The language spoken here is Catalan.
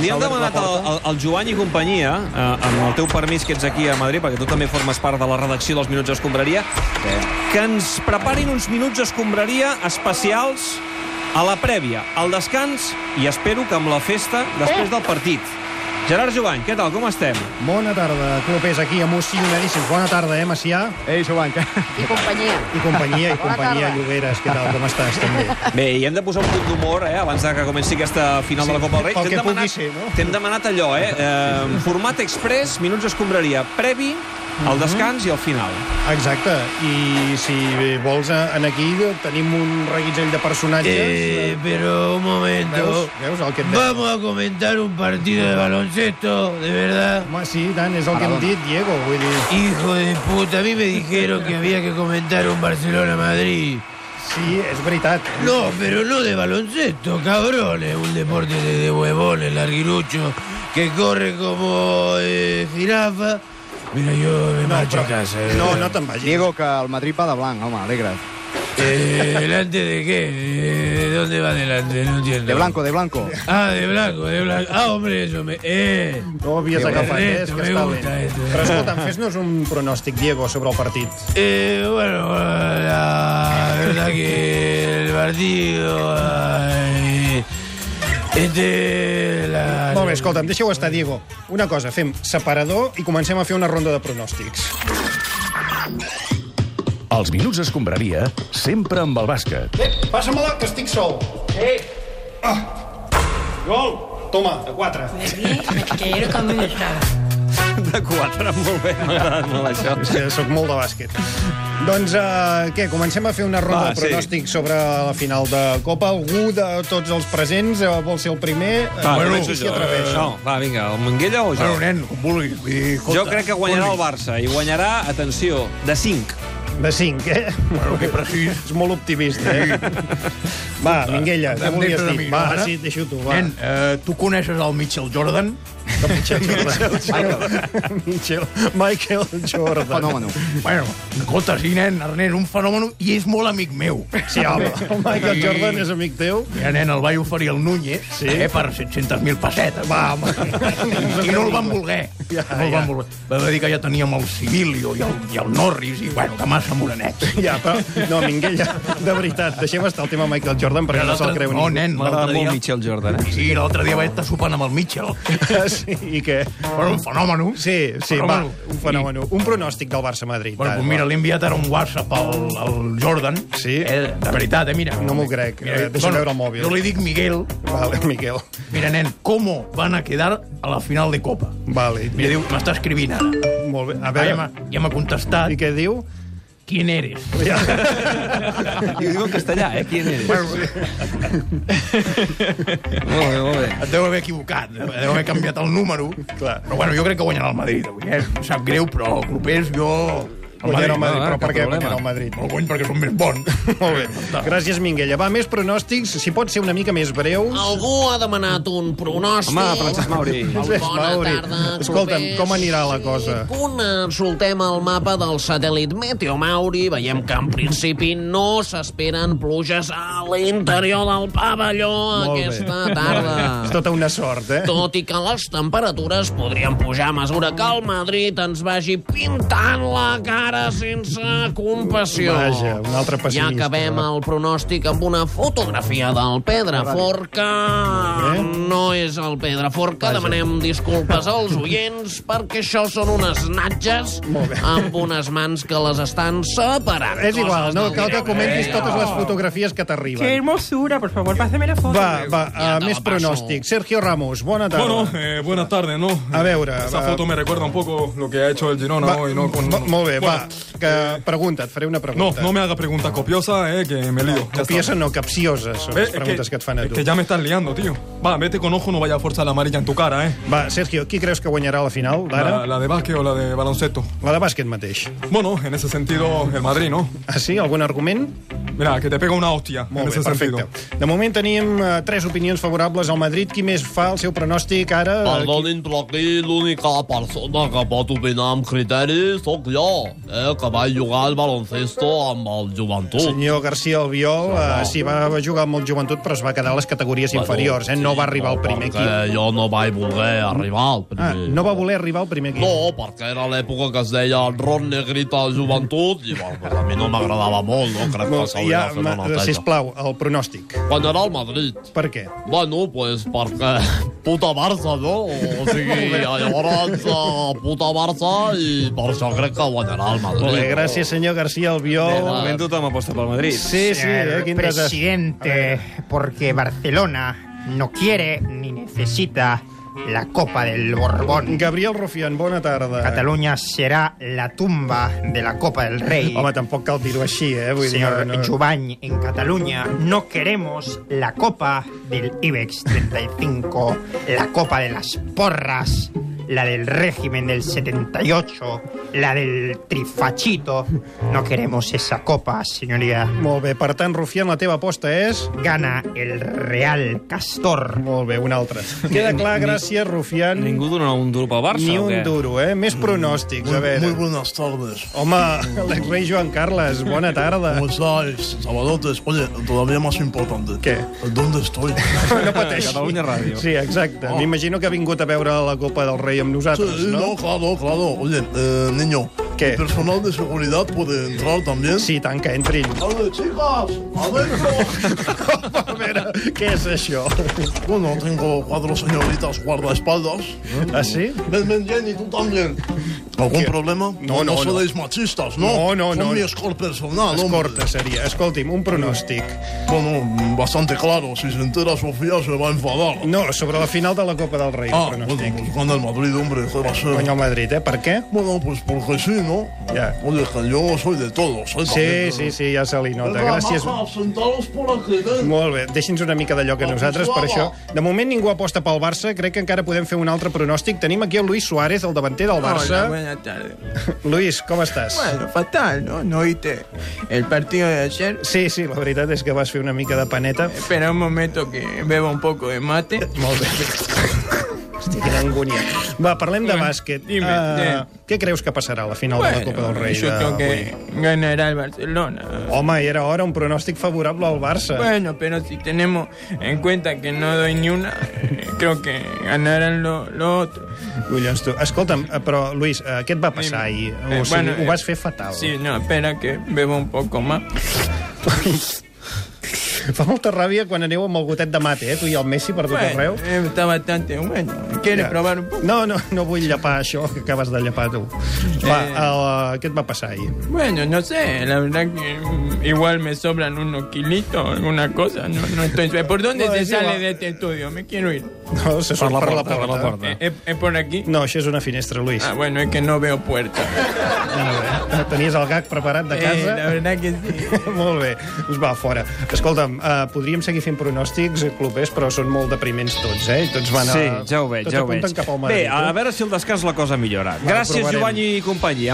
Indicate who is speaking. Speaker 1: Li han
Speaker 2: s'ha obert la
Speaker 1: demanat al,
Speaker 2: porta.
Speaker 1: al, al Joan i companyia, eh, amb el teu permís que ets aquí a Madrid, perquè tu també formes part de la redacció dels Minuts Escombraria, que ens preparin uns Minuts Escombraria especials a la prèvia, al descans i espero que amb la festa després del partit. Gerard Jovany, què tal? Com estem?
Speaker 2: Bona tarda, clubers aquí, emocionadíssims. Bona tarda, eh, Macià?
Speaker 3: Ei, Joan, que...
Speaker 4: i companyia.
Speaker 2: I companyia,
Speaker 4: Bona
Speaker 2: i companyia,
Speaker 4: tarda.
Speaker 2: Llogueres, què tal, com estàs, també?
Speaker 1: Bé, i hem de posar un punt d'humor, eh, abans de que comenci aquesta final de la Copa del Rei.
Speaker 2: pel
Speaker 1: T'hem
Speaker 2: que pugui
Speaker 1: demanat-
Speaker 2: ser, no?
Speaker 1: T'hem demanat allò, eh? eh format express, minuts escombraria, previ, al descans i al final.
Speaker 2: Exacte, i si vols, eh, en aquí tenim un reguitzell de personatges.
Speaker 5: Eh, pero un momento.
Speaker 2: Veus? Veus el que et deia?
Speaker 5: Vamos a comentar un partido de baloncesto, de verdad.
Speaker 2: Home, sí, i tant, és el que hem dit, Diego, vull dir...
Speaker 5: Hijo de puta, a mí me dijeron que había que comentar un Barcelona-Madrid.
Speaker 2: Sí, és veritat. eh.
Speaker 5: No, pero no de baloncesto, cabrones. Un deporte de, de huevones, larguirucho, que corre como eh, jirafa. Mira, yo me marcho a casa. eh.
Speaker 2: No, no te'n vagis.
Speaker 3: Diego, que el Madrid va de blanc, home, alegra't.
Speaker 5: Eh, ¿Delante de qué? Eh, ¿De dónde va delante? No entiendo.
Speaker 3: De blanco, de blanco.
Speaker 5: Ah, de blanco, de blanco. Ah, hombre, eso me... Eh.
Speaker 2: No ho havies
Speaker 5: Diego,
Speaker 2: agafat, eh?
Speaker 5: eh,
Speaker 2: És
Speaker 5: no
Speaker 2: que
Speaker 5: me
Speaker 2: està bé.
Speaker 5: gusta esto, eh.
Speaker 2: Però escolta'm, fes-nos un pronòstic, Diego, sobre el partit.
Speaker 5: Eh, bueno, la verdad que el partido... ay, este... La...
Speaker 2: Molt bé, escolta'm, deixeu estar, Diego. Una cosa, fem separador i comencem a fer una ronda de pronòstics.
Speaker 6: Els Minuts Escombraria, sempre amb el bàsquet.
Speaker 2: Ep, passa-me-la, que estic sol. Eh! Ah. Gol! Toma, de 4.
Speaker 7: Me cayeron como un estado.
Speaker 1: De quatre, molt bé, m'ha agradat molt això.
Speaker 2: És que sóc molt de bàsquet. Doncs, uh, què, comencem a fer una ronda
Speaker 1: Va,
Speaker 2: de pronòstics sobre la final de Copa. Algú de tots els presents uh, vol ser el primer? Eh,
Speaker 1: Va,
Speaker 2: començo,
Speaker 1: començo
Speaker 2: si atreveix.
Speaker 1: Eh, No, va, vinga, el Minguella o jo?
Speaker 5: Bueno, nen, com vulguis. Vull dir,
Speaker 1: Jo
Speaker 5: escolta,
Speaker 1: crec que guanyarà el
Speaker 5: vulguis.
Speaker 1: Barça, i guanyarà, atenció, de 5.
Speaker 2: De 5, eh?
Speaker 5: Bueno, que precís.
Speaker 2: És molt optimista, eh? Va, Minguella, què
Speaker 5: Em
Speaker 2: volies
Speaker 5: deixo de
Speaker 2: dir?
Speaker 5: mi,
Speaker 2: Va,
Speaker 5: no, ara?
Speaker 2: sí, deixo tu, va.
Speaker 5: Nen, eh, tu coneixes el Mitchell Jordan?
Speaker 2: Michael, Michael Jordan.
Speaker 3: Fenòmeno.
Speaker 5: Bueno, escolta, sí, nen, Ernest, un fenomen i és molt amic meu.
Speaker 2: Sí, home, el Michael
Speaker 5: I-
Speaker 2: Jordan és amic teu.
Speaker 5: Ja, nen, el vaig oferir al Núñez
Speaker 2: Sí.
Speaker 5: eh, per 700.000 pessetes. Va, home. I no el van voler.
Speaker 2: Ja,
Speaker 5: no el
Speaker 2: ja.
Speaker 5: van voler. Va dir que ja teníem el Civilio i el, i el Norris i, bueno, que massa morenets.
Speaker 2: Ja, però... No, Minguella, de veritat, deixem estar el tema Michael Jordan perquè no se'l creu
Speaker 5: No,
Speaker 2: ningú.
Speaker 5: nen, l'altre eh? dia...
Speaker 1: Mitchell Jordan, eh?
Speaker 5: Sí, l'altre dia vaig estar sopant amb el Mitchell.
Speaker 2: Ah, Sí, i què?
Speaker 5: Bueno, un fenomen.
Speaker 2: Sí, sí, va,
Speaker 5: Fenomen.
Speaker 2: un fenomen. Un pronòstic del Barça-Madrid.
Speaker 5: Bueno,
Speaker 2: va, Ah,
Speaker 5: doncs
Speaker 2: va.
Speaker 5: mira, l'he enviat ara un WhatsApp al, al Jordan.
Speaker 2: Sí.
Speaker 5: Eh, de veritat, eh, mira.
Speaker 2: No m'ho crec. Eh, deixa veure el mòbil.
Speaker 5: Jo li dic Miguel.
Speaker 2: Vale, Miquel.
Speaker 5: Mira, nen, com van a quedar a la final de Copa?
Speaker 2: Vale.
Speaker 5: Mira, diu, m'està escrivint ara.
Speaker 2: Molt bé. A
Speaker 5: Ah, ja
Speaker 2: veure,
Speaker 5: m'ha ja m'ha contestat.
Speaker 2: i què diu?
Speaker 5: Quin eres?
Speaker 2: Ja.
Speaker 1: I ho diu en castellà, eh? Qui eres?
Speaker 5: Bueno,
Speaker 1: Molt bé, molt bé.
Speaker 5: et deu haver equivocat, deu haver canviat el número.
Speaker 2: Clar.
Speaker 5: Però bueno, jo crec que guanyarà el Madrid avui. Eh? Em sap greu, però clubers, jo... El
Speaker 2: Guanyarà el
Speaker 5: Madrid,
Speaker 2: Madrid,
Speaker 1: va,
Speaker 2: però
Speaker 1: cap
Speaker 2: per què
Speaker 1: problema.
Speaker 2: guanyarà el Madrid?
Speaker 5: el guany perquè són més bons.
Speaker 2: Molt bé. Gràcies, Minguella. Va, més pronòstics, si pot ser una mica més breus.
Speaker 8: Algú ha demanat un pronòstic.
Speaker 1: Home, Francesc Mauri.
Speaker 2: Francesc
Speaker 8: Bona
Speaker 2: Mauri.
Speaker 8: tarda,
Speaker 2: Escolta'm,
Speaker 8: clubers.
Speaker 2: com anirà la cosa?
Speaker 8: Consultem el mapa del satèl·lit Meteo Mauri. Veiem que en principi no s'esperen pluges a l'interior del pavelló
Speaker 2: Molt bé.
Speaker 8: aquesta tarda.
Speaker 2: És tota una sort, eh?
Speaker 8: Tot i que les temperatures podrien pujar a mesura que el Madrid ens vagi pintant la cara sense compassió.
Speaker 2: Vaja, un altre
Speaker 8: Ja
Speaker 2: pessimista. eh?
Speaker 8: acabem el pronòstic amb una fotografia del Pedraforca.
Speaker 2: Eh?
Speaker 8: No és el Pedraforca.
Speaker 2: Vaja.
Speaker 8: Demanem disculpes als oients perquè això són unes natges
Speaker 2: Molt bé.
Speaker 8: amb unes mans que les estan separant.
Speaker 2: És igual,
Speaker 8: Coses
Speaker 2: no
Speaker 8: del
Speaker 2: cal que
Speaker 8: directe.
Speaker 2: comentis totes les fotografies que
Speaker 9: Qué
Speaker 2: t'arriben.
Speaker 9: hermosura, por favor, pásame la foto.
Speaker 2: Va, va,
Speaker 8: Ja
Speaker 2: a
Speaker 8: te la
Speaker 2: més
Speaker 8: passo.
Speaker 2: pronòstic. Sergio Ramos, bona
Speaker 10: Bueno,
Speaker 2: tarda.
Speaker 10: eh, buenas tardes, ¿no?
Speaker 2: A veure,
Speaker 10: Esa
Speaker 2: va.
Speaker 10: foto me recuerda un poco lo que ha hecho el Girona
Speaker 2: Ah, Va,
Speaker 10: hoy, ¿no? Con-
Speaker 2: mo- molt bé,
Speaker 10: Bueno,
Speaker 2: va, que pregunta, et faré una
Speaker 10: No,
Speaker 2: pregunta.
Speaker 10: no me hagas preguntas copiosas, eh, que me lío. ya está.
Speaker 2: Copies no, capcioses són
Speaker 10: Eh,
Speaker 2: les
Speaker 10: es
Speaker 2: preguntes que et fan a
Speaker 10: es
Speaker 2: tu.
Speaker 10: que ya me estás liando, tío. Va, vete con ojo, no vaya a forzar la amarilla en tu cara, ¿eh?
Speaker 2: Va, Sergio, qui creus que guanyarà la final d'ara?
Speaker 10: La, la de básquet o la de baloncesto.
Speaker 2: La de bàsquet mateix.
Speaker 10: Bueno, en ese sentido, el Madrid, ¿no?
Speaker 2: Ah, sí? Algun argument?
Speaker 10: Mira, que te pega una hostia en
Speaker 2: Molt bé,
Speaker 10: ese
Speaker 2: perfecte.
Speaker 10: sentido.
Speaker 2: De moment tenim eh, tres opinions favorables al Madrid. Qui més fa el seu pronòstic ara?
Speaker 8: Perdonin, però aquí l'única persona que pot opinar amb criteri sóc jo.
Speaker 5: eh, que va jugar al baloncesto amb el joventut.
Speaker 2: Senyor García Albiol, eh, sí, va jugar molt joventut, però es va quedar a les categories inferiors, eh? No va arribar al primer
Speaker 8: eh,
Speaker 2: equip.
Speaker 5: Perquè Eh, jo no vaig voler arribar al
Speaker 2: Ah,
Speaker 5: primer.
Speaker 2: no va voler arribar al primer equip.
Speaker 5: No, perquè era l'època que es deia el Ron Negrita al joventut i bueno, pues a mi no m'agradava molt, no? Crec que s'hauria
Speaker 2: Ja,
Speaker 5: de fer una
Speaker 2: ma-
Speaker 5: neteja.
Speaker 2: sisplau, el pronòstic.
Speaker 5: Quan era al Madrid,
Speaker 2: Per què?
Speaker 5: Bueno, pues perquè puta Barça, no? O sigui, llavors eh, puta Barça i per això crec que guanyarà el Madrid.
Speaker 2: Molt bé, gràcies, senyor García
Speaker 1: De
Speaker 2: Albiol.
Speaker 1: moment tothom aposta pel Madrid.
Speaker 2: Sí, sí, eh, quin desastre.
Speaker 11: presidente, porque Barcelona no quiere ni necesita la Copa del Borbón.
Speaker 2: Gabriel Rufián, bona tarda.
Speaker 11: Cataluña será la tumba de la Copa del Rey.
Speaker 2: Home, tampoc cal dir-ho així, eh? Vull
Speaker 11: Señor
Speaker 2: dir, no, no.
Speaker 11: Jubany, en Cataluña no queremos la Copa del IBEX 35, la Copa de las Porras, la del régimen del 78, la del trifachito. No queremos esa copa, señoría.
Speaker 2: Molt bé, per tant, Rufián, la teva aposta és...
Speaker 11: Gana el Real Castor.
Speaker 2: Molt bé, una altra. Queda clar, gràcies, Rufián.
Speaker 1: Ningú dona un duro pel Barça
Speaker 2: Ni
Speaker 1: o
Speaker 2: un
Speaker 1: què?
Speaker 2: duro, eh? Més pronòstics, a veure.
Speaker 8: Muy buenas tardes.
Speaker 2: Home, l'exrei Joan Carles, bona tarda.
Speaker 8: ¿Cómo estáis? Sabadotes. Oye, todavía más importante.
Speaker 2: ¿Qué?
Speaker 8: ¿Dónde estoy?
Speaker 2: No pateixi.
Speaker 1: Catalunya Ràdio.
Speaker 2: Sí, exacte.
Speaker 8: Oh.
Speaker 2: M'imagino que ha vingut a veure la Copa del Rei amb
Speaker 8: Sí,
Speaker 2: nosaltres,
Speaker 8: no,
Speaker 2: no?
Speaker 8: claro, claro. Oye, eh, niño.
Speaker 2: ¿Qué?
Speaker 8: ¿El personal de seguridad puede entrar también?
Speaker 2: Sí, tant que entrin.
Speaker 8: Tarde, chicas. Adentro.
Speaker 2: A veure, què és això?
Speaker 8: bueno, tengo cuatro señoritas guardaespaldas.
Speaker 2: ¿Ah, sí?
Speaker 8: Ven, ven, Jenny, tú también. ¿Algún
Speaker 2: ¿Qué?
Speaker 8: problema?
Speaker 2: No, no, no.
Speaker 8: sois machistas, ¿no?
Speaker 2: No, no,
Speaker 8: Son
Speaker 2: no.
Speaker 8: mi escort personal, hombre.
Speaker 2: Escorta seria. Escolti'm, un pronòstic.
Speaker 8: Bueno, bastante claro. Si se entera Sofía, se va a enfadar.
Speaker 2: No, sobre la final de la Copa del Rei,
Speaker 8: Ah,
Speaker 2: el
Speaker 8: bueno,
Speaker 2: pronòstic.
Speaker 8: pues gana el Madrid, hombre, ¿qué va a ser?
Speaker 2: Guanya el Madrid, eh? Per què?
Speaker 8: Bueno, pues porque sí, ¿no?
Speaker 2: Ya.
Speaker 8: Oye, que yo soy de todos. ¿eh?
Speaker 2: Sí, sí, sí, ja se li nota. Gràcies.
Speaker 8: Sentados por aquí, ¿eh?
Speaker 2: Molt bé, deixi'ns una mica d'allò que nosaltres, per això... De moment ningú aposta pel Barça, crec que encara podem fer un altre pronòstic. Tenim aquí el Luis Suárez, el davanter del Barça.
Speaker 12: Hola, buenas tardes.
Speaker 2: Luis, com estàs?
Speaker 12: Bueno, fatal, ¿no? No oíste el partido de ayer.
Speaker 2: Sí, sí, la veritat és que vas fer una mica de paneta.
Speaker 12: Espera un momento que beba un poco de mate.
Speaker 2: Molt bé. Hòstia, quina angúnia. Va, parlem de bàsquet.
Speaker 12: dime,
Speaker 2: Eh,
Speaker 12: dime.
Speaker 2: què creus que passarà a la final de la Copa del
Speaker 12: Bueno,
Speaker 2: Rei?
Speaker 12: yo creo
Speaker 2: d'avui?
Speaker 12: que ganará el Barcelona.
Speaker 2: Home, i era hora un pronòstic favorable al Barça.
Speaker 12: Bueno, pero si tenemos en cuenta que no doy ni una, eh, creo que ganarán lo, lo otro.
Speaker 2: Collons, tu. Escolta'm, eh, però, Luis, eh, què et va passar ahir?
Speaker 12: Eh,
Speaker 2: O sigui,
Speaker 12: bueno,
Speaker 2: ho vas
Speaker 12: eh,
Speaker 2: fer fatal.
Speaker 12: Sí, no, espera que beba un poco más.
Speaker 2: Fa molta ràbia quan aneu amb el gotet de mate, eh, tu i el Messi per tot arreu.
Speaker 12: Bueno, eh, está bastante bueno. ¿Quieres
Speaker 2: Ja.
Speaker 12: probar un poco?
Speaker 2: No, no, no vull llapar això que acabes de llapar tu.
Speaker 12: Eh.
Speaker 2: Va, el, què et va passar ahir?
Speaker 12: Bueno, no sé, la verdad que mm, igual me sobran unos kilitos, alguna cosa, no, no estoy... ¿Por dónde
Speaker 2: Bueno,
Speaker 12: se
Speaker 2: es
Speaker 12: sale
Speaker 2: igual.
Speaker 12: de este estudio? Me quiero ir.
Speaker 2: No, se surt per la porta.
Speaker 1: per la porta.
Speaker 2: Ah.
Speaker 12: ¿Es, es por aquí?
Speaker 2: No, això és una finestra, Luis.
Speaker 12: Ah, bueno, es que no veo puerta.
Speaker 2: Ah, Tenies el gag preparat de
Speaker 12: Eh,
Speaker 2: casa?
Speaker 12: la verdad que sí.
Speaker 2: Molt bé, us va fora. Escolta'm, uh, podríem seguir fent pronòstics, eh, clubers, però són molt depriments tots, eh? I Tots van a...
Speaker 1: Sí, ja ho veig,
Speaker 2: tots
Speaker 1: ja ho veig.
Speaker 2: apunten cap al
Speaker 1: Bé,
Speaker 2: Madrid.
Speaker 1: a
Speaker 2: eh?
Speaker 1: veure si el descans la cosa millora.
Speaker 2: Va,
Speaker 1: Gràcies,
Speaker 2: provarem.
Speaker 1: Jovany i companyia.